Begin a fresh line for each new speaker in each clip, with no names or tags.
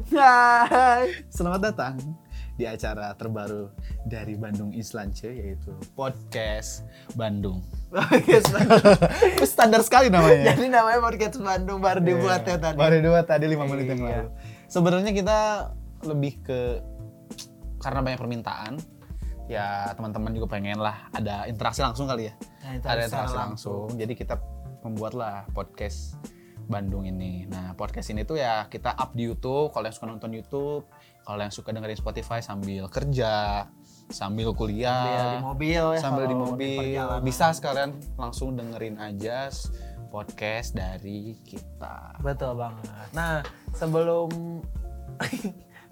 Hai, selamat datang di acara terbaru dari Bandung Islance yaitu podcast Bandung.
Podcast Bandung.
Standar sekali namanya.
Jadi namanya podcast Bandung baru dibuat ya tadi.
Iya. Baru dua tadi lima menit yang
Iya.
lalu. Sebenarnya kita lebih ke karena banyak permintaan. Ya teman-teman juga pengen lah ada interaksi langsung kali ya.
Nah, itu
ada
harus
interaksi
salah.
langsung. Jadi kita membuatlah podcast Bandung ini. Nah, podcast ini tuh ya kita up di YouTube. Kalau yang suka nonton YouTube, kalau yang suka dengerin Spotify sambil kerja, sambil
Sambil di
kuliah,
mobil ya.
sambil di
kalau
mobil,
perjalanan.
bisa sekalian langsung dengerin aja s- podcast dari kita.
Betul banget. Nah, sebelum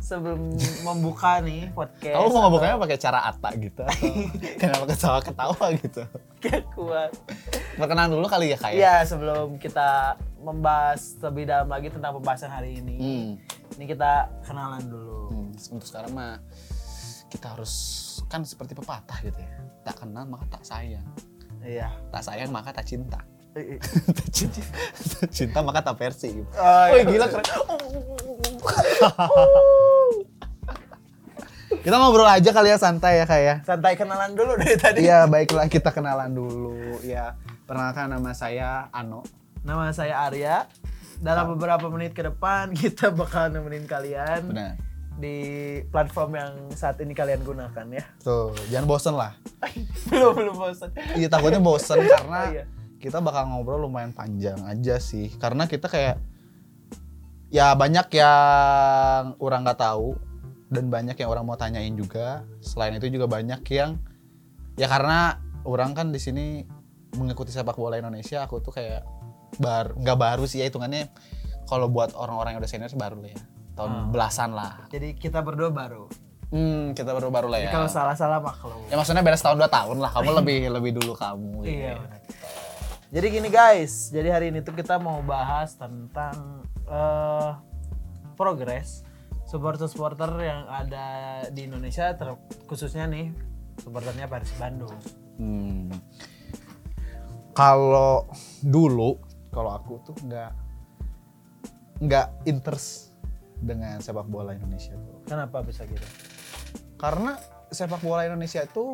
sebelum membuka nih podcast.
Kamu mau ngomongnya pakai cara Atta gitu? atau Kenapa ketawa-ketawa gitu?
Gak kuat.
Perkenalan dulu kali ya kayak.
Iya, sebelum kita membahas lebih dalam lagi tentang pembahasan hari ini.
Hmm.
Ini kita kenalan dulu.
Hmm, untuk sekarang mah kita harus kan seperti pepatah gitu ya. Tak kenal maka tak sayang.
Iya.
Tak sayang maka tak cinta.
Eh, eh.
tak cinta, tak cinta maka tak versi. Gitu.
Oh,
Wih, gila keren. kita ngobrol aja kali ya santai ya kayak.
Santai kenalan dulu dari tadi.
Iya, baiklah kita kenalan dulu ya. Perkenalkan nama saya Ano.
Nama saya Arya. Dalam beberapa menit ke depan kita bakal nemenin kalian
Benar.
di platform yang saat ini kalian gunakan ya.
Tuh, jangan bosen lah.
belum belum bosan.
Iya takutnya bosen karena
Iya.
kita bakal ngobrol lumayan panjang aja sih. Karena kita kayak ya banyak yang orang nggak tahu dan banyak yang orang mau tanyain juga. Selain itu juga banyak yang ya karena orang kan di sini mengikuti sepak bola Indonesia, aku tuh kayak bar nggak baru sih ya hitungannya. Kalau buat orang-orang yang udah senior sih baru lah ya. Tahun
Hmm.
belasan lah.
Jadi kita berdua baru.
Hmm, kita baru-baru lah
Jadi
ya.
kalau salah-salah maklum.
Ya maksudnya beres tahun dua tahun lah. Kamu lebih lebih dulu kamu.
Iya. benar. Jadi gini guys, jadi hari ini tuh kita mau bahas tentang eh, progres supporter-supporter yang ada di Indonesia ter- khususnya nih supporternya Persib Bandung.
Hmm. Kalau dulu, kalau aku tuh nggak nggak interest dengan sepak bola Indonesia tuh.
Kenapa bisa gitu?
Karena sepak bola Indonesia itu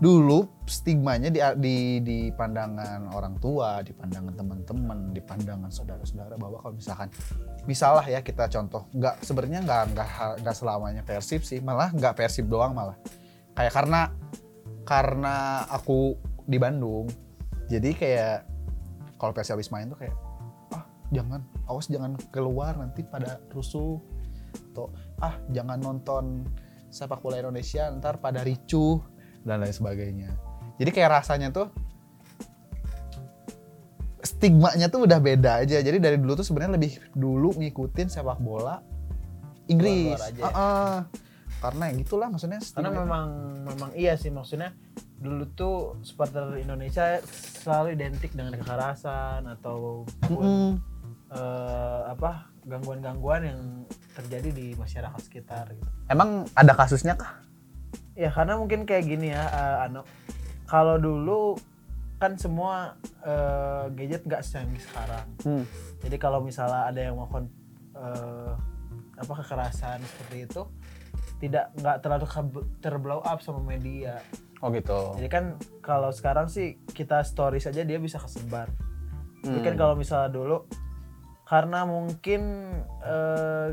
dulu stigmanya di, di di pandangan orang tua, di pandangan teman-teman, di pandangan saudara-saudara bahwa kalau misalkan misalah ya kita contoh nggak sebenarnya nggak nggak ha- nggak selamanya persib sih malah nggak persib doang malah kayak karena karena aku di Bandung jadi kayak kalau persib habis main tuh kayak ah jangan awas jangan keluar nanti pada rusuh atau ah jangan nonton sepak bola Indonesia ntar pada ricuh dan lain sebagainya jadi kayak rasanya tuh stigmanya tuh udah beda aja. Jadi dari dulu tuh sebenarnya lebih dulu ngikutin sepak bola Inggris.
Luar-luar aja ya?
Heeh. Karena ya gitulah maksudnya
karena
stigma-
memang memang iya sih maksudnya dulu tuh supporter Indonesia selalu identik dengan kekerasan atau
Mm-mm.
eh, apa gangguan-gangguan yang terjadi di masyarakat sekitar gitu.
Emang ada kasusnya kah?
Ya karena mungkin kayak gini ya eh, Ano. Kalau dulu kan semua eh, gadget nggak secanggih sekarang.
Hmm.
Jadi kalau misalnya ada yang melakukan eh, apa kekerasan seperti itu tidak nggak terlalu ke- terblow up sama media.
Oh gitu.
Jadi kan kalau sekarang sih kita story saja dia bisa kesebar. Tapi kan
Hmm.
kalau misalnya dulu karena mungkin eh,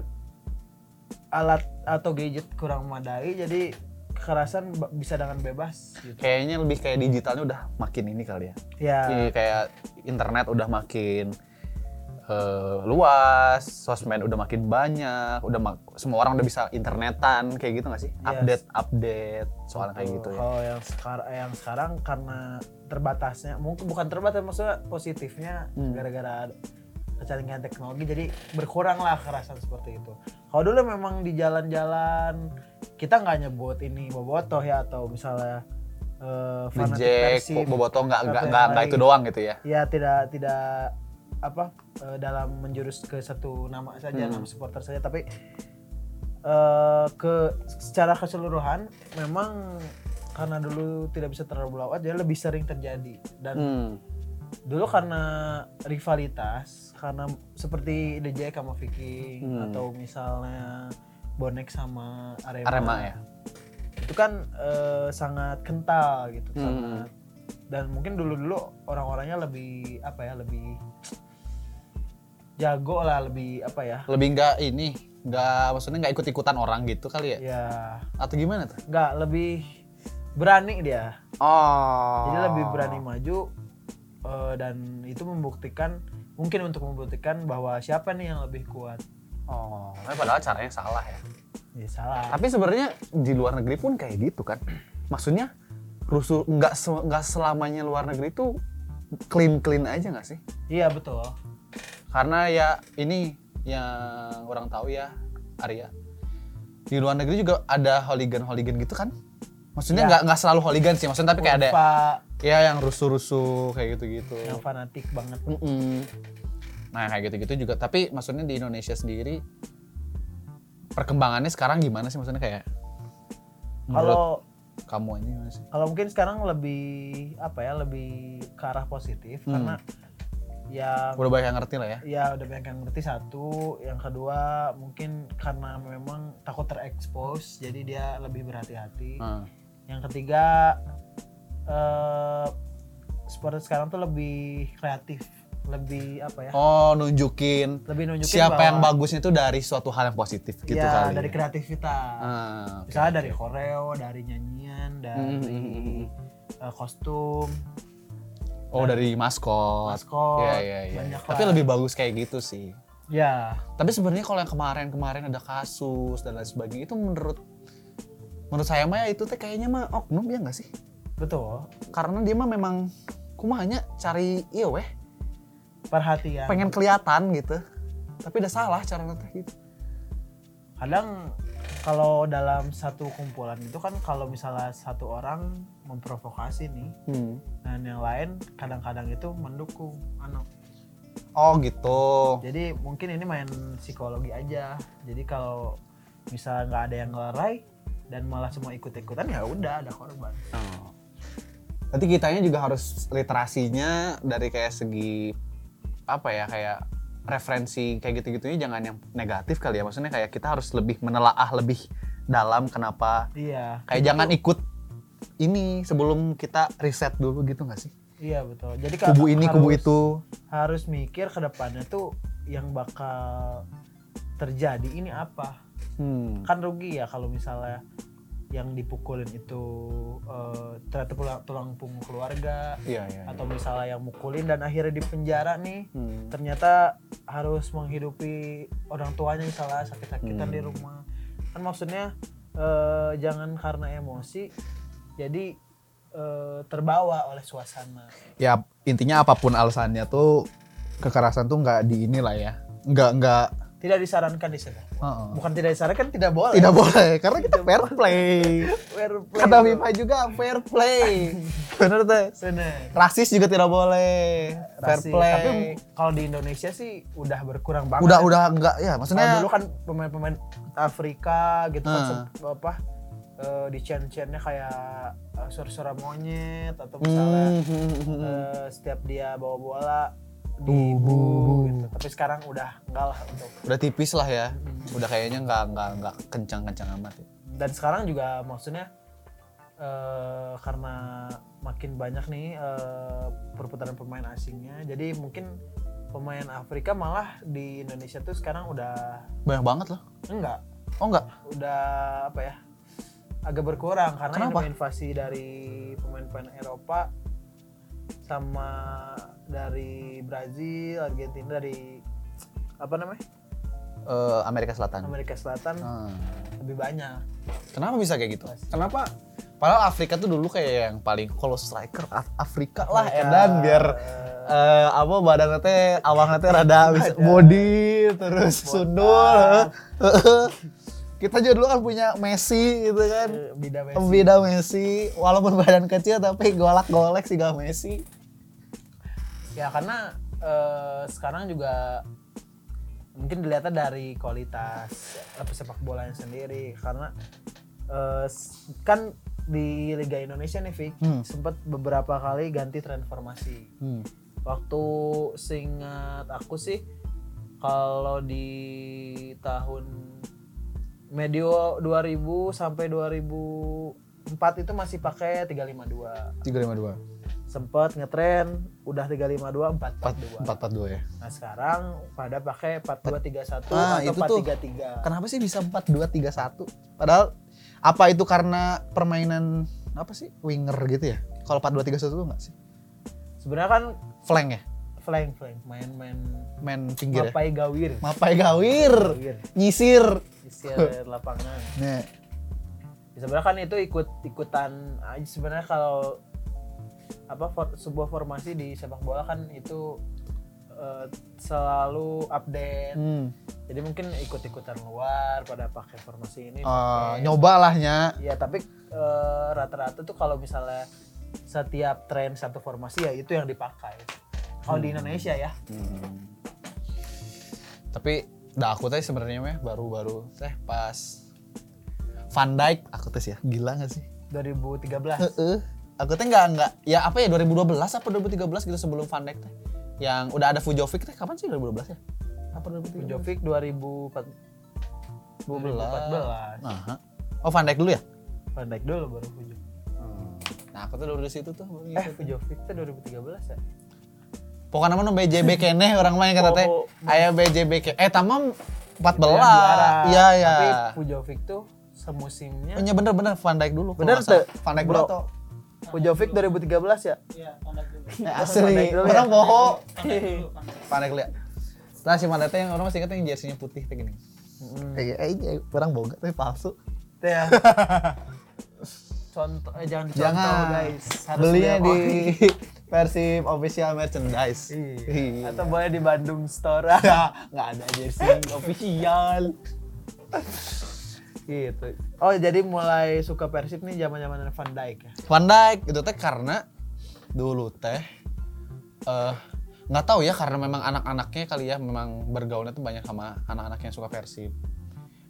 alat atau gadget kurang memadai jadi kekerasan ba- bisa dengan bebas gitu.
Kayaknya lebih kayak digitalnya udah makin ini kali ya.
Ya,
Iya, Kayak internet udah makin eh, luas, sosmed udah makin banyak, udah mak- semua orang udah bisa internetan kayak gitu nggak sih?
Yes.
Update update soal kayak gitu ya.
Kalau Oh, yang sekarang yang sekarang karena terbatasnya mungkin bukan terbatas maksudnya positifnya
Hmm.
gara-gara ada kecanggihan teknologi jadi berkurang lah kekerasan seperti itu. Kalau dulu memang di jalan-jalan kita nggak nyebut ini bobotoh ya atau misalnya eh, fanatik
Ngejek,
Persib.
boboto nggak nggak
Sampai
nggak nggak
hari.
itu doang gitu ya.
ya tidak tidak apa eh, dalam menjurus ke satu nama saja
Hmm.
nama supporter saja tapi eh, ke secara keseluruhan
Hmm,
memang karena dulu tidak bisa terlalu out jadi lebih sering terjadi dan dulu karena rivalitas karena seperti DJ sama Viking
Hmm.
atau misalnya Bonek sama Arema,
Arema ya.
itu kan eh, sangat kental gitu
Hmm.
sangat dan mungkin dulu-dulu orang-orangnya lebih apa ya lebih jago lah lebih apa ya
Lebih nggak ini, nggak maksudnya nggak ikut-ikutan orang gitu kali ya?
ya
Atau gimana tuh?
nggak lebih berani dia
Oh.
jadi lebih berani maju eh, dan itu membuktikan mungkin untuk membuktikan bahwa siapa nih yang lebih kuat
Oh, tapi padahal caranya salah ya.
ya salah
Tapi sebenarnya di luar negeri pun kayak gitu kan. Maksudnya rusuh nggak se- nggak selamanya luar negeri itu clean clean aja nggak sih?
iya betul
Karena ya ini yang orang tahu ya Arya. Di luar negeri juga ada hooligan hooligan gitu kan? Maksudnya
Ya.
nggak nggak selalu hooligan sih. Maksudnya tapi kayak ada
Kurva
ya yang rusuh-rusuh kayak gitu-gitu.
yang fanatik banget
Mm-mm. Nah kayak gitu-gitu juga. Tapi maksudnya di Indonesia sendiri perkembangannya sekarang gimana sih? Maksudnya kayak menurut
kalau
kamu aja gimana sih?
kalau mungkin sekarang lebih apa ya lebih ke arah positif
Hmm.
karena ya
Udah banyak yang ngerti lah ya.
ya udah banyak yang ngerti satu yang kedua mungkin karena memang takut terekspos jadi dia lebih berhati-hati
Hmm.
yang ketiga eh sport sekarang tuh lebih kreatif lebih apa ya
Oh nunjukin,
lebih nunjukin
siapa
bahwa-
yang bagusnya itu dari suatu hal yang positif gitu
ya,
kali.
dari kreativitas
Ah, oke,
misalnya dari
oke.
koreo dari nyanyian
Hmm,
dari
hmm, hmm, hmm.
eh, kostum
Oh dari maskot.
maskot
Iya, iya, iya.
banyak
Tapi
lah.
lebih bagus kayak gitu sih.
ya
Tapi sebenarnya kalau yang kemarin-kemarin ada kasus dan lain sebagainya itu menurut menurut saya mah ya itu teh kayaknya mah oknum ya nggak sih?
betul
Karena dia mah memang kumanya cari iya weh
perhatian
pengen kelihatan gitu. Tapi udah salah cara teh gitu.
kadang kalau dalam satu kumpulan itu kan kalau misalnya satu orang memprovokasi nih dan yang lain kadang-kadang itu mendukung anu
Oh gitu.
jadi mungkin ini main psikologi aja jadi kalau misalnya nggak ada yang ngelarai dan malah semua ikut-ikutan ya udah ada korban
Oh. Nanti kitanya juga harus literasinya dari kayak segi apa ya kayak referensi kayak gitu-gitunya jangan yang negatif kali ya maksudnya kayak kita harus lebih menelaah lebih dalam kenapa
iya
kayak jangan ikut ini sebelum kita riset dulu gitu nggak sih
iya betul jadi kalau
kubu ini kubu
harus-
itu
harus mikir ke depannya tuh yang bakal terjadi ini apa
hmm.
kan rugi ya kalau misalnya yang dipukulin itu eh, ternyata tulang, tulang punggung keluarga
iya iya
atau misalnya yang mukulin dan akhirnya di penjara nih
Hmm.
ternyata harus menghidupi orang tuanya misalnya sakit-sakitan
Hmm.
di rumah kan maksudnya eh, jangan karena emosi jadi eh, terbawa oleh suasana
ya intinya apapun alasannya tuh kekerasan tuh nggak di inilah ya nggak nggak
tidak disarankan di sana
Heeh.
bukan tidak disarankan kan tidak boleh
tidak boleh karena kita fair play
Fair play,
kata
bro.
Bima juga fair play bener tuh
Bener.
rasis juga tidak boleh fair
Rasis.
play
Tapi kalau di Indonesia sih udah berkurang banget.
udah
ya.
udah nggak ya
Kalau
maksudnya
dulu kan pemain-pemain Afrika gitu kan
Hmm.
se- apa eh, di chain-chainnya kayak eh, suara-suara monyet atau misalnya
Hmm, hmm, hmm, hmm.
eh, setiap dia bawa bola
Bu, bu, bu.
dibu gitu. Tapi sekarang udah enggak lah untuk
udah tipis lah ya
Hmm.
udah kayaknya nggak nggak nggak kencang kencang amat ya.
dan sekarang juga maksudnya eh, karena makin banyak nih eh, perputaran pemain asingnya jadi mungkin pemain Afrika malah di Indonesia tuh sekarang udah
banyak banget loh
enggak
oh nggak
udah apa ya agak berkurang karena
Kenapa?
ini invasi dari pemain-pemain Eropa sama dari Brazil, Argentina dari apa namanya
Eh, Amerika Selatan
Amerika Selatan
Hmm.
lebih banyak
kenapa bisa kayak gitu kenapa padahal Afrika tuh dulu kayak yang paling kalau striker Af- Afrika lah
Mereka,
edan biar
eh,
eh, apa badannya teh awangnya teh rada bisa
Badan.
body terus
Botak.
sundul kita juga dulu kan punya Messi gitu kan
eh, beda beda
Beda Messi, walaupun badan kecil tapi golak-golek sih gak Messi.
ya karena eh, sekarang juga mungkin dilihatnya dari kualitas eh, sepak bolanya sendiri karena eh, s- kan di Liga Indonesia nih Vic
Hmm.
sempat beberapa kali ganti transformasi
Hmm.
waktu seingat aku sih kalau di tahun medio 2000 sampai 2004 itu masih pakai 352
352.
sempet ngetren udah 352
442
442
ya.
nah sekarang pada pakai 4231
Ah, itu
atau
tuh.
433
Kenapa sih bisa 4231? Padahal apa itu karena permainan apa sih winger gitu ya? Kalau 4231 tuh enggak sih?
sebenarnya kan
Flank ya?
flank flank main-main
Main pinggir ya.
mapai gawir
Mapai gawir,
gawir
nyisir.
istilahnya lapangan
Nah,
Ya, sebenarnya kan itu ikut ikutan aja sebenarnya kalau apa for- sebuah formasi di sepak bola kan itu eh, selalu update
hmm.
jadi mungkin ikut ikutan luar pada pakai formasi ini
Eh,
pakai-
nyobalahnya
ya tapi eh, rata-rata tuh kalau misalnya setiap tren satu formasi ya itu yang dipakai kalau
Hmm.
di Indonesia ya
Tapi dah aku teh sebenarnya meh baru-baru teh pas Van Dijk aku tes ya. Gila gak sih?
2013
Heeh. Aku teh nggak nggak ya apa ya 2012 apa 2013 gitu sebelum Van Dijk teh. Yang udah ada Fujovic teh kapan sih 2012 ya? Apa 2013?
Jovic 2014 2014
Nah, ha. oh Van Dijk dulu ya?
Van Dijk dulu baru Fujo Hmm.
Nah, aku tuh dari situ tuh. baru
eh
gitu.
Fujovic tuh 2013 ya
Pokoknya mana BJB keneh orang main kata teh.
Oh.
Aya BJB ke eh tamam
Yang juara.
14. Iya ya.
Tapi Pujovic tuh semusimnya.
Iya bener-bener Van Dijk dulu. kalau
Bener
nggak salah.
tuh,
Van Dijk
bro.
dulu Eh, atau
Pujovic 2013 ya?
Eh,
Van
asli,
Dijk dulu
orang
ya?
boho. Van Dijk dulu ya. Nah si Van Dijk teh yang orang masih inget yang jersinya putih teh gini.
Hmm.
Iya, eh, iya, orang boga tapi palsu.
Itu ya. Contoh, eh, jangan dicontoh
Jangan
guys. Harus
belinya
beli
di
yang
Persib official merchandise.
ori.
Iya.
Atau boleh di Bandung Store.
nggak ada jersey official.
gitu. Oh jadi mulai suka Persib nih zaman zaman Van Dijk ya?
Van Dijk itu teh karena dulu teh eh nggak tahu ya karena memang anak-anaknya kali ya memang bergaulnya tuh banyak sama anak-anak yang suka Persib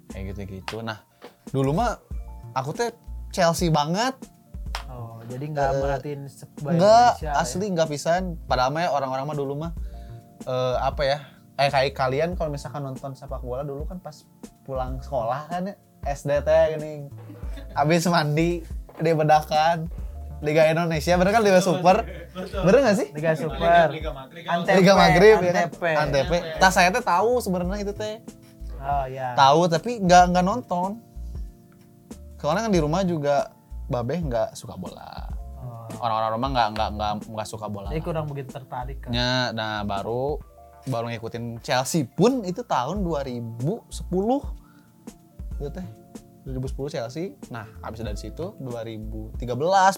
kayak gitu-gitu. Nah dulu mah aku teh Chelsea banget
Oh jadi nggak
Eh,
merhatiin sepak
Enggak,
Indonesia ya.
asli enggak pisan. Padahal mah ya orang-orang mah dulu mah eh, apa ya? Eh kayak kalian kalau misalkan nonton sepak bola dulu kan pas pulang sekolah kan ya, SD teh gini. Abis mandi di bedakan Liga Indonesia bener kan Liga Super. Bener gak sih?
Ya? Liga Super. Antep.
Liga Maghrib ya kan?
Antep.
Antep. Tah saya teh tahu sebenarnya itu teh.
Oh ya.
Tahu tapi nggak nggak nonton. Soalnya kan di rumah juga babeh nggak suka bola.
Oh.
Orang-orang rumah nggak nggak nggak nggak suka bola.
Jadi kurang begitu tertarik kan?
Ya, nah baru baru ngikutin Chelsea pun itu tahun 2010. Itu teh 2010 Chelsea. Nah, habis dari situ 2013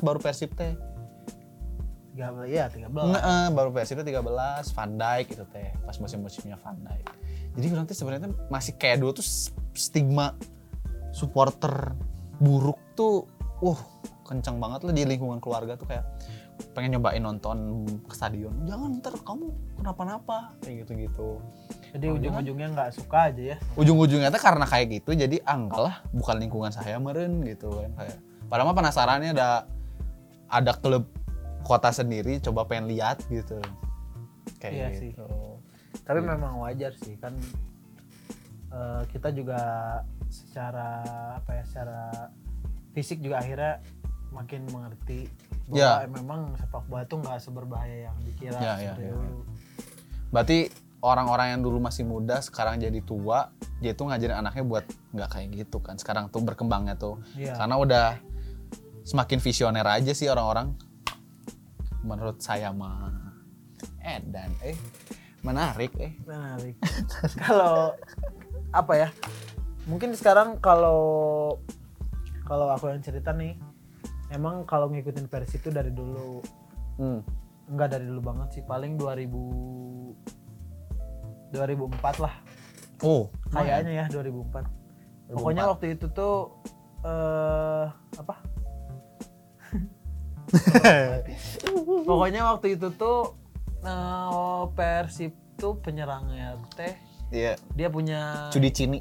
baru Persib teh.
13 ya 13.
Nah, eh, baru Persib teh 13 Van Dijk itu teh pas musim-musimnya Van Dijk. Jadi orang teh sebenarnya masih kayak dulu tuh s- stigma supporter buruk tuh wah kencang banget lah di lingkungan keluarga tuh kayak pengen nyobain nonton ke stadion jangan ntar kamu kenapa-napa kayak gitu-gitu
Jadi ujung-ujungnya nggak suka aja ya.
ujung-ujungnya tuh karena kayak gitu jadi angkalah bukan lingkungan saya meren gitu kan kayak padahal mah penasarannya ada ada klub kota sendiri coba pengen lihat gitu kayak
Iya sih.
gitu
Tapi memang wajar sih kan eh, kita juga secara apa ya secara fisik juga akhirnya makin mengerti
Ya.
bahwa memang sepak bola tuh nggak seberbahaya yang dikira
Ya, ya,
seperti
ya.
dulu.
berarti orang-orang yang dulu masih muda sekarang jadi tua dia tuh ngajarin anaknya buat nggak kayak gitu kan sekarang tuh berkembangnya tuh
Iya.
karena udah semakin visioner aja sih orang-orang menurut saya mah eh dan eh menarik eh
Menarik. kalau apa ya? Mungkin sekarang kalau kalau aku yang cerita nih, emang kalau ngikutin versi itu dari dulu
Hmm.
Enggak dari dulu banget sih, paling 2000 2004 lah.
oh
Kayaknya ya 2004. Pokoknya waktu itu tuh eh apa? Pokoknya waktu itu tuh eh Persib tuh penyerangnya teh
Iya.
dia punya
Cudi Cini.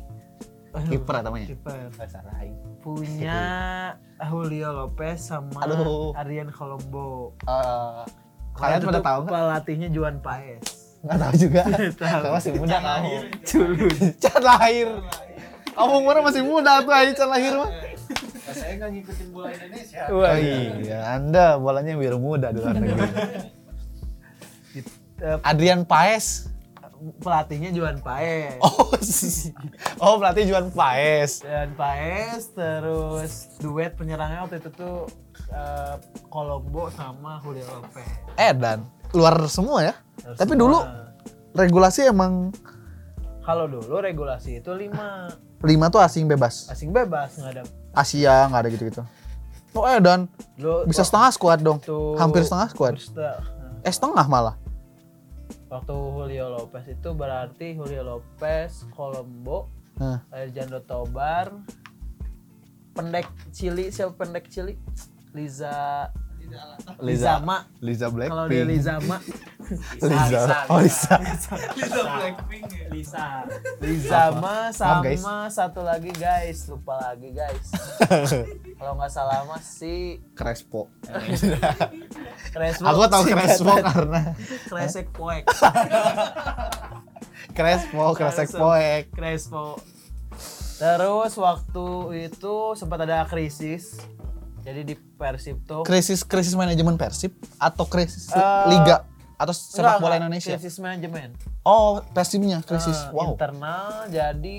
Aduh,
kiper namanya?
Kiper.
Sarai.
Punya Julio Lopez sama
Aduh.
Arian Colombo.
Eh, Kalian
Waktu
pada
itu
tahu nggak?
Pelatihnya Juan Paes.
Nggak tahu juga.
Tahu.
Kamu masih muda kamu.
Culun.
Cat lahir. Kamu umurnya masih muda tuh aja cat lahir mah.
saya nggak ngikutin bola Indonesia
Wah,
Oh iya, Anda bolanya biar muda di luar negeri. iya.
eh,
Adrian Paes.
pelatihnya Juan Paes.
Oh, oh berarti Juan Paes.
Juan Paes terus duet penyerangnya waktu itu tuh eh, Kolombo sama Julio Lopez.
Eh dan luar semua ya.
Terus
Tapi
semua.
dulu regulasi emang
kalau dulu regulasi itu lima
lima tuh asing bebas.
asing bebas nggak ada.
Asia nggak ada gitu-gitu. Oh eh dan
Dulu
bisa
waktu-
setengah squad dong.
Tuh,
Hampir setengah squad.
hampir setengah. Nah,
Eh setengah malah.
Waktu Julio Lopez itu berarti Julio Lopez, Colombo,
Nah,
Alejandro Tobar, pendek Cili, siapa pendek Cili? Liza
Liza.
Lizama.
Liza
Kalau dia
Blackpink.
Lizama,
Liza. Oh, Liza.
Lisa Blackpink ya
Lisa. Lizama sama
guys.
satu lagi guys, lupa lagi guys. Kalau nggak salah mas si
Crespo.
Crespo.
Aku tahu
si
Crespo
Gatot.
karena
Kresek poek.
Crespo, Kresek
Crespo.
Poek.
Crespo. Terus waktu itu sempat ada krisis. Jadi di Persib tuh
Krisis krisis manajemen Persib atau krisis
Eh,
liga atau sepak
Enggak,
bola
enggak.
Indonesia?
Krisis manajemen.
Oh, Persibnya krisis.
Eh,
wow.
Internal jadi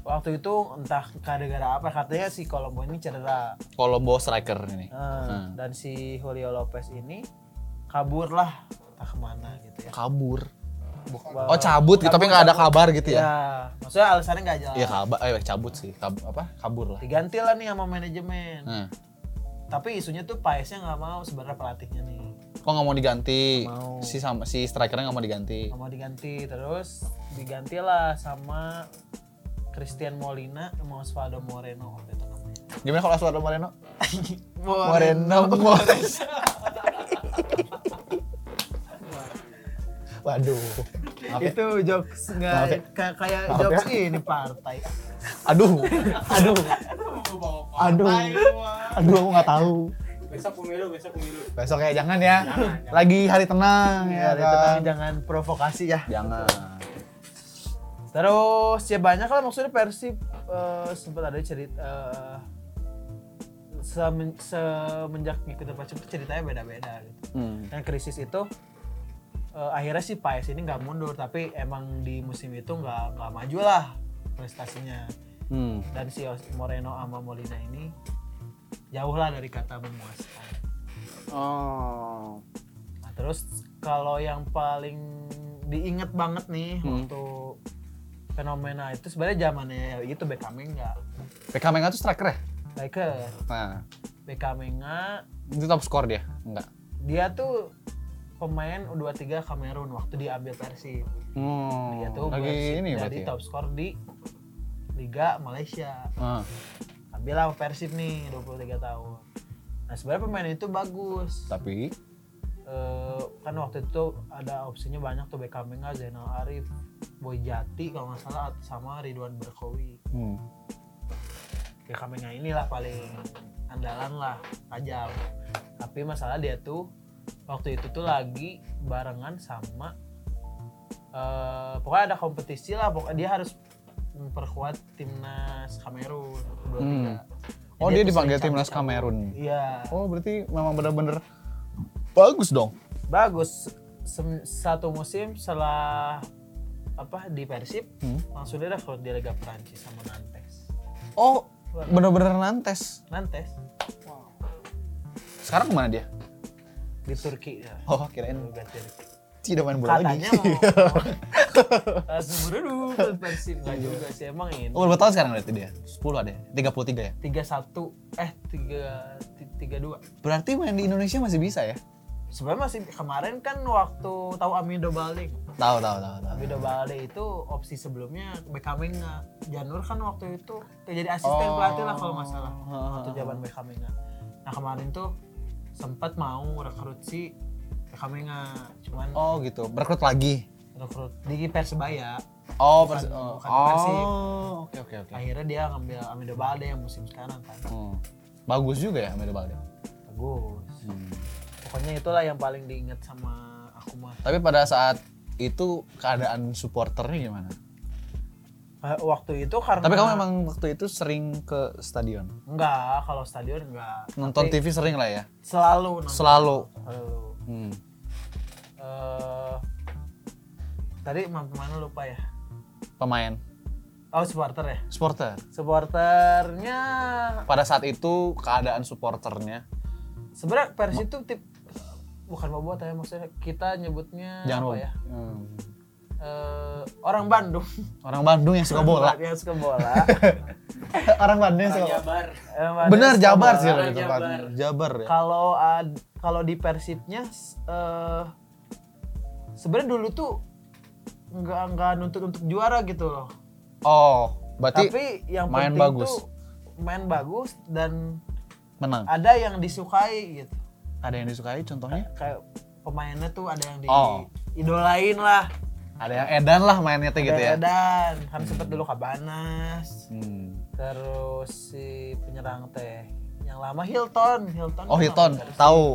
waktu itu entah gara-gara apa katanya si Kolombo ini cedera.
Kolombo striker ini.
Eh,
Hmm.
dan si Julio Lopez ini kabur lah entah kemana gitu ya.
Kabur.
Buk-
Oh, cabut gitu, tapi nggak ada
cabut.
kabar gitu ya?
Iya, maksudnya alasannya nggak jelas.
Iya kabar, eh cabut sih, Kab- apa? Kabur lah.
Diganti lah nih sama manajemen.
Nah,
Tapi isunya tuh Paesnya nggak mau sebenarnya pelatihnya nih.
kok nggak mau diganti?
Nggak mau.
Si sama si strikernya nggak mau diganti.
Nggak mau diganti terus digantilah sama Christian Molina sama Osvaldo Moreno waktu itu namanya.
Gimana kalau Osvaldo Moreno? Moreno, Moreno. Waduh. Maaf ya.
Itu jokes
Maaf ya.
nggak kayak kayak
Maaf ya.
jokes ini partai.
Aduh. Aduh. Aduh. Aduh, aku nggak tahu.
besok pemilu besok pemilu
Besok ya jangan ya. Lagi hari tenang ya,
Ya,
kan?
tenang, jangan provokasi ya.
Jangan.
Terus ya banyak lah maksudnya Persib eh, sempat ada cerita eh, semen, semenjak ngikutin Persib tuh ceritanya beda-beda gitu.
Hmm.
Dan krisis itu eh, akhirnya si Paes ini nggak mundur tapi emang di musim itu nggak nggak maju lah prestasinya
Hmm.
dan si Os- Moreno sama Molina ini jauh lah dari kata memuaskan.
Oh.
Nah, terus kalau yang paling diinget banget nih
Hmm.
waktu fenomena itu sebenarnya zamannya ya, itu Bekamenga.
PK Menga tuh striker ya?
Striker
Nah,
Bekamenga
itu top skor dia. Enggak.
dia tuh pemain U23 Kamerun waktu diambil Persib.
Hmm.
Dia Iya, tuh
lagi
Persib
ini
jadi
berarti. Ya?
top skor di Liga Malaysia.
Ah.
Ambil lah Persib nih 23 tahun. Nah sebenarnya pemain itu bagus.
Tapi
Eh, kan waktu itu ada opsinya banyak tuh Bekamenga, Zainal Arif, Boy Jati kalau nggak salah at- sama Ridwan Berkowi.
hmm.
Bekamenga inilah paling andalan lah, tajam. Tapi masalah dia tuh waktu itu tuh lagi barengan sama eh, pokoknya ada kompetisi lah, pokoknya dia harus memperkuat timnas Kamerun U23.
Hmm.
Jadi
Oh, dia
tuh
dipanggil
sering
timnas
cabut-cabut.
Kamerun.
Iya.
Oh, berarti memang benar-benar bagus dong.
bagus Sem- satu musim setelah apa di Persib
Hmm.
langsung direkrut di Liga Prancis sama Nantes.
Oh, benar-benar nantes.
Nantes
Sekarang kemana dia?
di Turki ya.
Oh, kirain
Liga Turki.
tidak main bola
Katanya
lagi.
mau langsung Ah, dulu ke Persib nggak juga sih emang ini.
Iya. Oh, berapa tahun sekarang berarti dia? 10 ada ya? 33 ya?
31 eh 3 32.
Berarti main di Indonesia masih bisa ya?
Sebenarnya masih kemarin kan waktu tahu Amido Balik.
Tahu, tahu, tahu, tahu.
Amido Balik itu opsi sebelumnya Bekamenga. Janur kan waktu itu jadi asisten
Oh.
pelatih lah kalau nggak salah. waktu jawaban BK Menga. Nah kemarin tuh sempat mau rekrut si BK Menga, cuman
Oh, gitu. Berkrut lagi.
rekrut di Persebaya.
Oh,
Bukan-
persi- oh,
bukan Persib.
Oh, oke oke oke.
Akhirnya dia ngambil Amido Balde yang musim sekarang kan.
Hmm. Bagus juga ya Amelie Balde.
Bagus. Pokoknya Nah itulah yang paling diingat sama aku mah.
Tapi pada saat itu keadaan supporternya gimana?
Eh, Waktu itu karena
Tapi kamu emang waktu itu sering ke stadion?
enggak kalau stadion enggak
Nonton
Tapi
TV sering lah ya?
selalu nonton.
Selalu.
Selalu.
Hmm.
Eh, tadi ma- mana lupa ya?
Pemain,
Oh supporter ya?
supporter.
Supporternya
Pada saat itu keadaan supporternya,
sebenarnya Persi itu tip bukan bobot ya maksudnya kita nyebutnya
jangan
apa
lupa.
ya?
Hmm.
Eh, orang Bandung.
Orang Bandung yang suka bola.
Yang suka bola.
Orang Bandung yang suka bola.
Jabar.
Orang Bandung
Bener
suka
Jabar sih
bola.
Jabar.
orang itu, Pak. Jabar ya.
kalau ad- kalau di Persibnya s- eh sebenarnya dulu tuh nggak nggak nuntut untuk juara gitu loh.
Oh, berarti
Tapi yang
main
penting
bagus.
tuh main bagus dan
menang.
ada yang disukai gitu.
Ada yang disukai contohnya?
Kayak pemainnya tuh ada yang
Oh.
diidolain lah.
Ada yang edan lah mainnya tuh gitu ya.
Dan kan sempet dulu Kabanas.
Hmm.
Terus si penyerang teh yang lama Hilton, Hilton.
Oh
kan
Hilton,
lama dari-
tahu.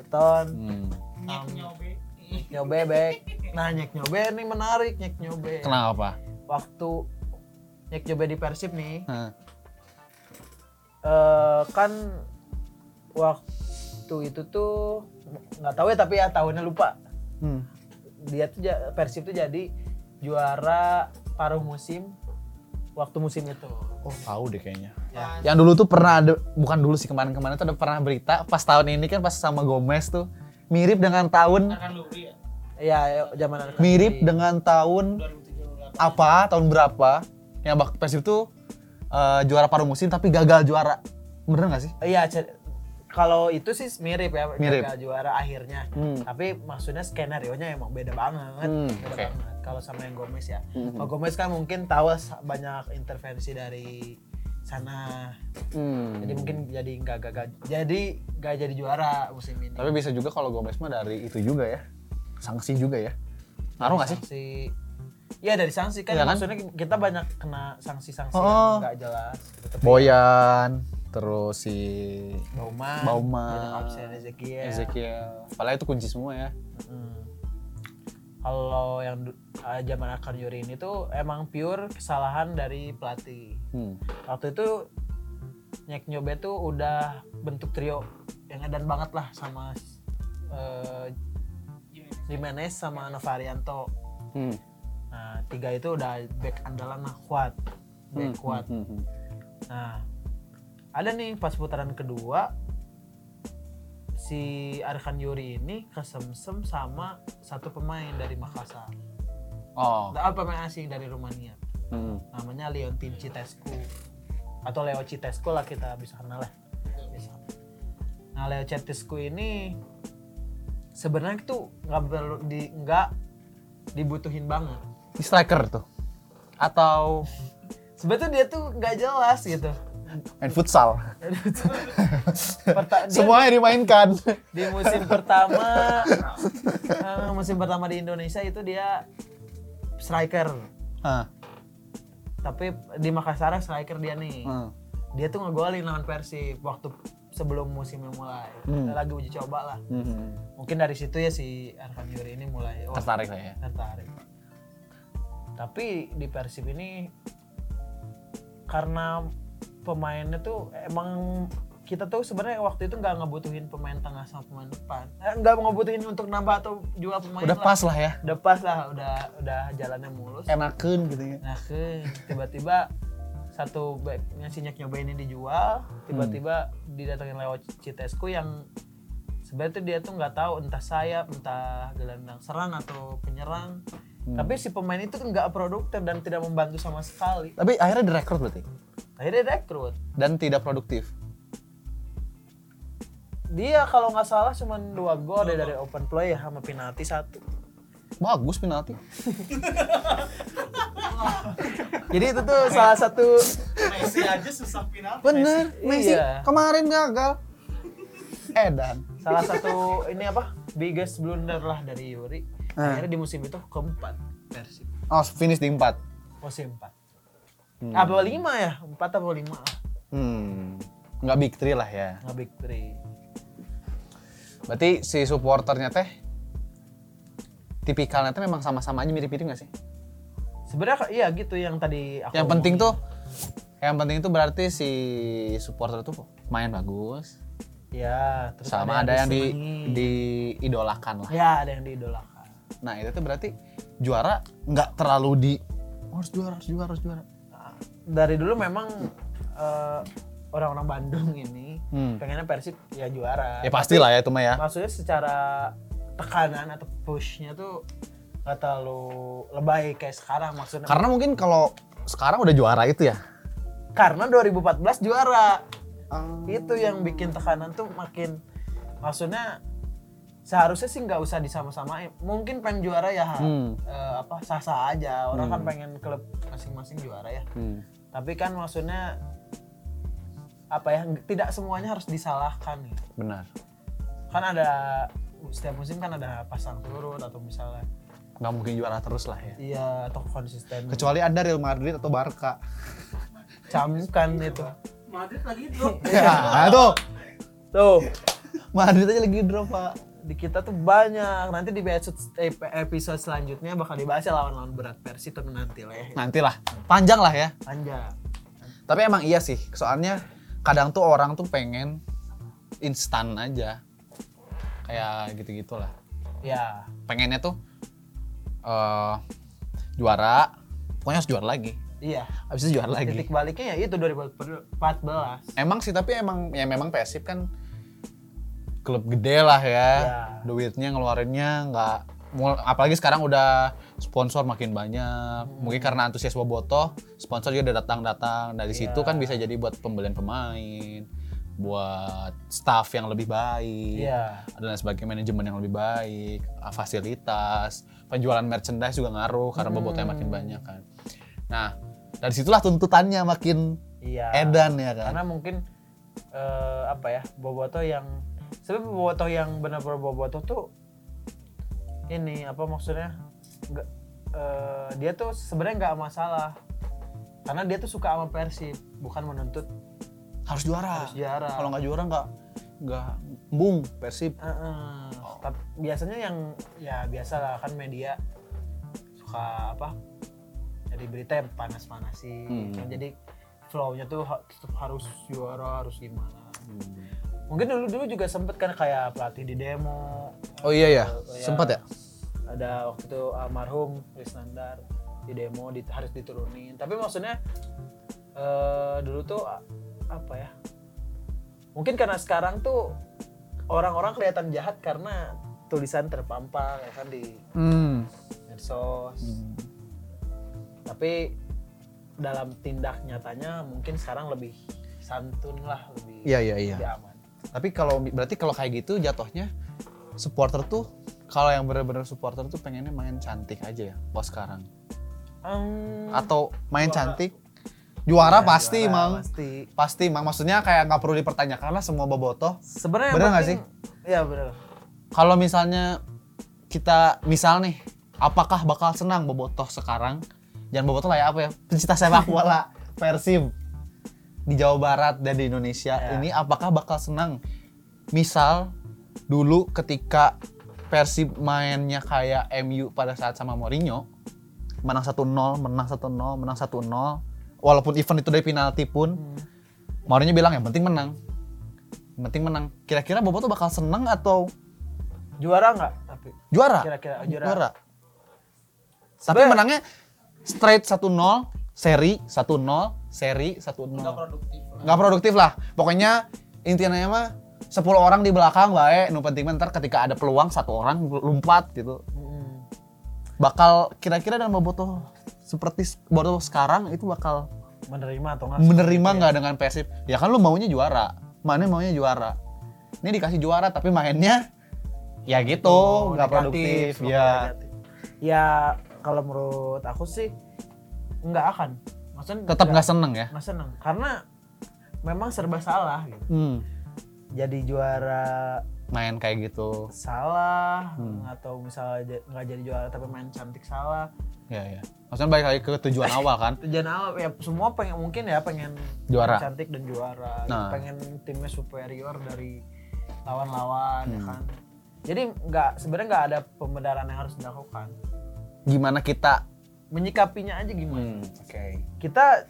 Hilton.
Hmm.
Nyek nyobe.
nyobe bek nah nyek nyobe ini menarik nyek nyobe
Kenapa?
waktu nyek nyobe di persib nih
Hah.
eh, kan waktu itu tuh nggak tahu ya tapi ya tahunnya lupa
Hmm.
dia tuh ja- persib tuh jadi juara paruh musim waktu musim itu
Oh, tahu deh kayaknya.
Ya.
Yang dulu tuh pernah ada bukan dulu sih kemarin-kemarin tuh ada pernah berita pas tahun ini kan pas sama Gomez tuh mirip dengan tahun
Akan Lubri ya.
ya zaman anak
mirip dengan tahun
2038.
apa tahun berapa yang bak Persib tuh eh, juara paruh musim tapi gagal juara bener nggak sih?
iya cer- kalau itu sih mirip ya
Mirip.
gagal juara akhirnya
Hmm.
tapi maksudnya skenario nya emang beda banget
Hmm,
beda
oke.
banget kalau sama yang Gomez ya Kalau Gomez kan mungkin tahu sa- banyak intervensi dari sana
Hmm.
jadi mungkin jadi nggak gagal jadi nggak jadi juara musim ini
Tapi bisa juga kalau Gomez mah dari itu juga ya sanksi juga ya ngaruh nggak sih?
sanksi Iya dari sanksi kan,
Iya kan?
maksudnya kita banyak kena sanksi-sanksi
Oh.
yang nggak jelas.
Iya.
Tetep
Boyan terus si
Bauman,
Bauman,
Jordan Absen, ya. Ezekiel.
Ezekiel padahal itu kunci semua ya
Mm. Kalau yang du- eh, zaman akar Yuri ini tuh emang pure kesalahan dari pelatih.
hmm.
Waktu itu Nyek Nyobe tuh udah bentuk trio yang edan banget lah sama eh, Jimenez sama Novarianto.
Hmm.
Nah, tiga itu udah back andalan lah kuat. Back kuat.
Hmm, hmm, hmm.
Nah, ada nih pas putaran kedua si Arkan Yuri ini kesemsem sama satu pemain dari Makassar.
Oh.
Nah, pemain asing dari Rumania.
Hmm.
Namanya Leontin Citescu atau Leo Citescu lah kita bisa kenal lah. Bisa. Nah, Leo Citescu ini sebenarnya itu nggak perlu di nggak dibutuhin banget.
Ini striker tuh atau
Sebetulnya dia tuh nggak jelas gitu.
main futsal
Perta- dia-
semuanya dimainkan
di musim pertama eh, musim pertama di Indonesia itu dia striker
ah,
tapi di Makassar striker dia nih
ah.
dia tuh ngegolin lawan Persib waktu sebelum musimnya mulai
Hmm.
lagi uji coba lah
Hmm.
mungkin dari situ ya si Arfan Yuri ini mulai oh,
tertarik lah ya
tertarik tapi di Persib ini karena pemainnya tuh emang kita tuh sebenarnya waktu itu nggak ngebutuhin pemain tengah sama pemain depan Eh, nggak ngebutuhin untuk nambah atau jual pemain
udah
lah.
pas lah ya
udah pas lah udah udah jalannya mulus
enakan gitu ya
nah ke tiba-tiba satu backnya si Nyek nyoba ini dijual tiba-tiba didatengin lewat Citesku yang sebenarnya tuh dia tuh nggak tahu entah sayap entah gelandang serang atau penyerang tapi si pemain itu tuh nggak produktif dan tidak membantu sama sekali
tapi akhirnya direkrut berarti
akhirnya rekrut
dan tidak produktif
dia kalau nggak salah cuma dua gol deh dari open play ya sama penalti satu
bagus penalti
jadi itu tuh salah satu
Messi aja susah final.
bener Messi Eh,
Iya.
kemarin gagal Edan
salah satu ini apa biggest blunder lah dari Yuri akhirnya di musim itu keempat Persib
oh finish di empat
musim Oh, empat apa lima ya empat apa lima lah
hmm nggak big three lah ya
nggak big three
Berarti si supporternya teh tipikalnya teh memang sama-sama aja mirip-mirip gak sih?
Sebenarnya iya gitu yang tadi aku
yang penting
omongin.
tuh yang penting tuh berarti si supporter tuh main bagus
ya terus
sama ada yang, di,
disenengin.
diidolakan lah.
ya ada yang diidolakan.
Nah, itu tuh berarti juara nggak terlalu di "Oh, harus juara, harus juara, harus juara.
Nah, dari dulu memang eh, orang-orang Bandung ini
Hmm.
pengennya Persib ya juara.
Ya pastilah ya itu mah ya.
Maksudnya secara tekanan atau pushnya tuh nggak terlalu lebay kayak sekarang maksudnya.
Karena mungkin kalau sekarang udah juara itu ya.
Karena 2014 juara. Itu yang bikin tekanan tuh makin maksudnya seharusnya sih nggak usah disama-samain. Mungkin pengen juara ya
Hmm.
eh, apa sah-sah aja. Orang kan pengen klub masing-masing juara ya.
Hmm.
Tapi kan maksudnya apa ya nggak- tidak semuanya harus disalahkan gitu.
Benar.
Kan ada setiap musim kan ada pasang turun atau misalnya
Nggak mungkin juara terus lah ya.
iya atau konsisten
Kecuali ada Real Madrid atau Barca.
camkan gitu. itu.
Madrid lagi drop.
ya, tuh.
Tuh,
Madrid aja lagi drop, Pak.
di kita tuh banyak. Nanti di episode ep- episode selanjutnya bakal dibahas ya lawan-lawan berat Persi tapi nanti lah ya.
Nantilah. Panjang lah ya.
Panjang.
Tapi emang iya sih, soalnya kadang tuh orang tuh pengen instan aja. Kayak gitu-gitulah.
Ya,
Pengennya tuh eh juara, pokoknya harus juara lagi.
iya.
Habis itu juara lagi.
Titik baliknya ya itu 2014.
Emang sih, tapi emang ya memang Persib kan klub gede lah ya.
Ya.
Duitnya ngeluarinnya nggak mul- apalagi sekarang udah sponsor makin banyak. Mungkin karena antusias Bobotoh, sponsor juga udah datang-datang. Dari situ
Ya.
kan bisa jadi buat pembelian pemain, buat staff yang lebih baik.
Iya.
Dan lain sebagainya manajemen yang lebih baik, ah, fasilitas, penjualan merchandise juga ngaruh karena Bobotohnya makin banyak kan. Nah, dari situlah tuntutannya makin
Iya.
edan ya kan.
karena mungkin eh, apa ya boboto yang sebenarnya boboto yang benar-benar boboto tuh ini apa maksudnya nggak- eh, dia tuh sebenarnya nggak masalah karena dia tuh suka sama Persib bukan menuntut
harus juara.
Harus juara.
Kalau nggak juara nggak nggak bung Persib.
Eh, eh.
Oh.
Tapi biasanya yang ya biasa lah kan media suka apa jadi berita yang panas-panasi
Hmm.
jadi flow-nya tuh ha- tetap harus juara harus gimana
Hmm.
mungkin dulu dulu juga sempet kan kayak pelatih di demo
Oh iya ya,
Oh, iya.
sempat ya.
ada waktu itu almarhum Krisnandar di demo di- harus diturunin tapi maksudnya eh, dulu tuh a- apa ya mungkin karena sekarang tuh orang-orang kelihatan jahat karena tulisan terpampang ya kan di
Hmm.
medsos tapi dalam tindak nyatanya mungkin sekarang lebih santun lah lebih
Iya iya iya.
lebih aman
Tapi kalau berarti kalau kayak gitu jatuhnya supporter tuh kalau yang bener-bener supporter tuh pengennya main cantik aja ya kalau sekarang.
Em,
Atau main cantik juara pasti
Hmm. Iya, juara
mang.
pasti.
Pasti mang. Maksudnya kayak nggak perlu dipertanyakan lah semua bobotoh.
sebenarnya
Bener nggak
ya bener
Kalau misalnya kita misal nih, apakah bakal senang bobotoh sekarang? Jangan bobotoh lah ya apa ya? Pencinta sepak bola Persib di Jawa Barat dan di Indonesia
Ya.
ini apakah bakal senang? Misal dulu ketika Persib mainnya kayak MU pada saat sama Mourinho menang 1-0, menang 1-0, menang 1-0 walaupun event itu dari penalti pun Mourinho bilang yang penting menang. Yang penting menang. Kira-kira Bobotoh bakal senang atau
juara nggak tapi
juara
Kira-kira, juara.
tapi menangnya straight 1-0 seri 1-0 seri 1-0
Nggak produktif. lah.
nggak produktif lah pokoknya intinya mah 10 orang di belakang baik nu penting mah ntar ketika ada peluang satu orang lompat gitu
Mm.
bakal kira-kira dengan Boboto seperti Boboto sekarang itu bakal
menerima atau nggak Iya.
menerima nggak dengan Persib ya kan lu maunya juara mana maunya juara ini dikasih juara tapi mainnya ya
Oh,
gitu nggak produktif ya
ya kalau menurut aku sih nggak akan maksudnya
tetap nggak seneng ya
nggak seneng karena memang serba salah gitu
Hmm,
jadi juara
main kayak gitu.
salah
Hmm.
atau misalnya ja- nggak jadi juara tapi main cantik salah
Ya ya. Maksudnya balik lagi ke tujuan awal kan.
tujuan awal ya semua pengen mungkin ya pengen
Juara.
cantik dan juara
Nah.
pengen timnya superior dari lawan-lawan ya
Hmm.
kan jadi nggak sebenarnya nggak ada pembenaran yang harus dilakukan
Gimana kita?
menyikapinya aja
Hmm,
gimana
oke.
kita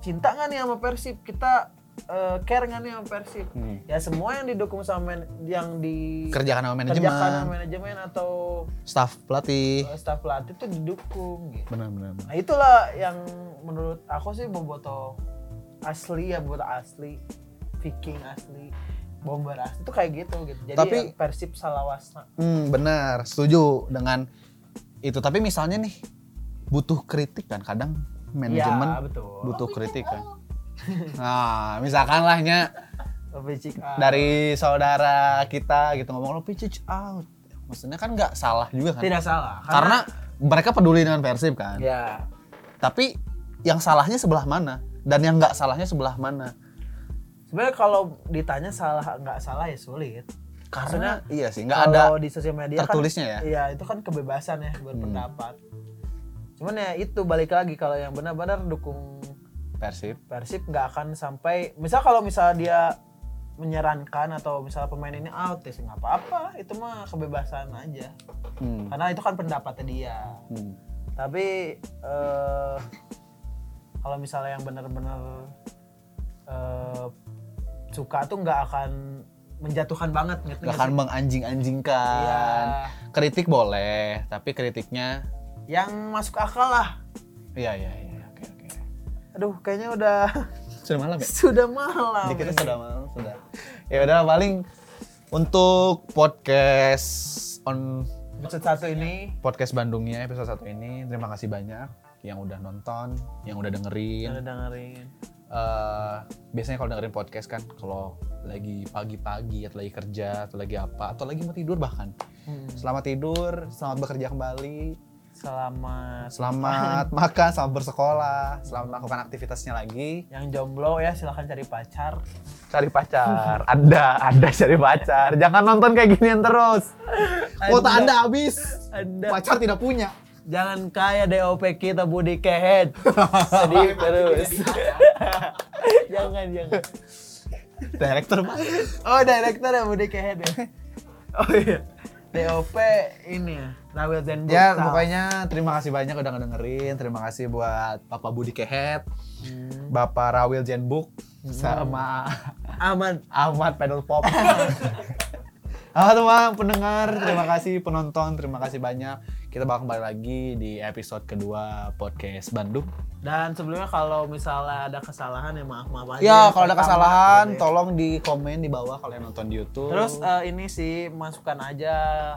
cinta nggak nih sama persib kita eh, care nggak nih sama persib
Hmm.
ya semua yang didukung sama men- yang di
Kerjakan sama manajemen,
kerjakan sama manajemen atau
staff pelatih.
eh, staff pelatih itu didukung gitu
Benar-benar.
Nah itulah yang menurut aku sih Boboto asli ya buat asli, Viking asli, Bomber asli itu kayak gitu gitu. Jadi
Tapi-
yang Persib Salawasna.
Hmm, benar. Setuju dengan itu. Tapi misalnya nih butuh kritik kan kadang
Ya,
manajemen
betul.
butuh kritik kan. Nah, misalkan lahnya
Lebih check up.
dari saudara kita gitu ngomong lo pitch out. Maksudnya kan nggak salah juga kan.
tidak salah.
Karena mereka peduli dengan Persib kan.
ya
Tapi yang salahnya sebelah mana dan yang nggak salahnya sebelah mana?
sebenarnya kalau ditanya salah nggak salah ya sulit.
Karena iya sih nggak ada
Kalau di sosial media
tertulisnya ya? Hmm.
kan, Iya itu kan kebebasan ya berpendapat. Cuman ya itu balik lagi kalau yang benar-benar dukung
Persib.
Persib nggak akan sampai misal kalau misal dia menyarankan atau misal pemain ini out ya nggak apa-apa itu mah kebebasan aja
Hmm.
karena itu kan pendapatnya dia
Hmm.
tapi eh, kalau misalnya yang benar-benar eh, suka tuh nggak akan menjatuhkan banget gitu
Gak akan menganjing-anjingkan. Iya. Kritik boleh, tapi kritiknya
yang masuk akal lah
iya iya iya oke oke.
aduh kayaknya udah
Sudah malam ya?
sudah malam
Dikitnya
ini.
sudah malam sudah. Ya udah paling untuk podcast on
episode satu ini
podcast Bandungnya episode satu ini terima kasih banyak yang udah nonton, yang udah dengerin.
udah dengerin
Eh, biasanya kalau dengerin podcast kan kalau lagi pagi-pagi atau lagi kerja atau lagi apa atau lagi mau tidur bahkan
Hmm.
selamat tidur selamat bekerja kembali
selamat
selamat makan selamat bersekolah selamat melakukan aktivitasnya lagi
yang jomblo ya silahkan cari pacar
cari pacar anda anda cari pacar jangan nonton kayak ginian terus kuota
Anda.
anda habis
Anda.
pacar tidak punya
jangan kayak DOP kita Budi Kehet sedih terus jangan jangan
direktur Pak.
oh direktur ya Budi Kehet ya oh iya DOP ini ya Rawil dan
ya
Buta.
pokoknya terima kasih banyak udah ngedengerin terima kasih buat Bapak Budi Kehet
Hmm.
Bapak Rawil Jenbuk sama
aman
Ahmad pedal pop. Halo teman pendengar, terima kasih penonton, terima kasih banyak. Kita bakal kembali lagi di episode kedua podcast Bandung.
dan sebelumnya kalau misalnya ada kesalahan ya maaf maaf aja
Ya, kalau ada
Pertama,
kesalahan
gitu ya.
tolong di komen di bawah kalau yang nonton di YouTube.
terus eh, ini sih masukan aja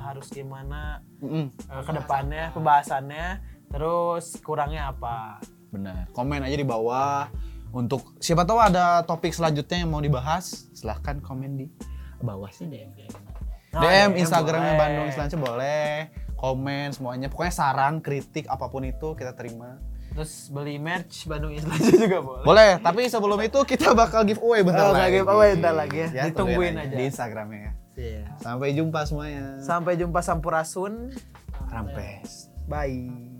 harus gimana
Mm-mm,
eh, kedepannya pembahasannya terus kurangnya apa
benar. Komen aja di bawah untuk siapa tahu ada topik selanjutnya yang mau dibahas, silahkan komen di bawah sini.
Oh,
DM
DM
Instagramnya
boleh.
Bandung Islansia boleh, komen semuanya, pokoknya saran, kritik apapun itu kita terima.
terus beli merch Bandung Islandia juga boleh
Boleh, tapi sebelum itu kita bakal giveaway bentar
Oh,
lagi. Iya,
giveaway bentar lagi ya. Ditungguin
tungguin
aja.
Di Instagramnya ya.
Iya.
Sampai jumpa semuanya.
sampai jumpa Sampurasun
Rampes.
bye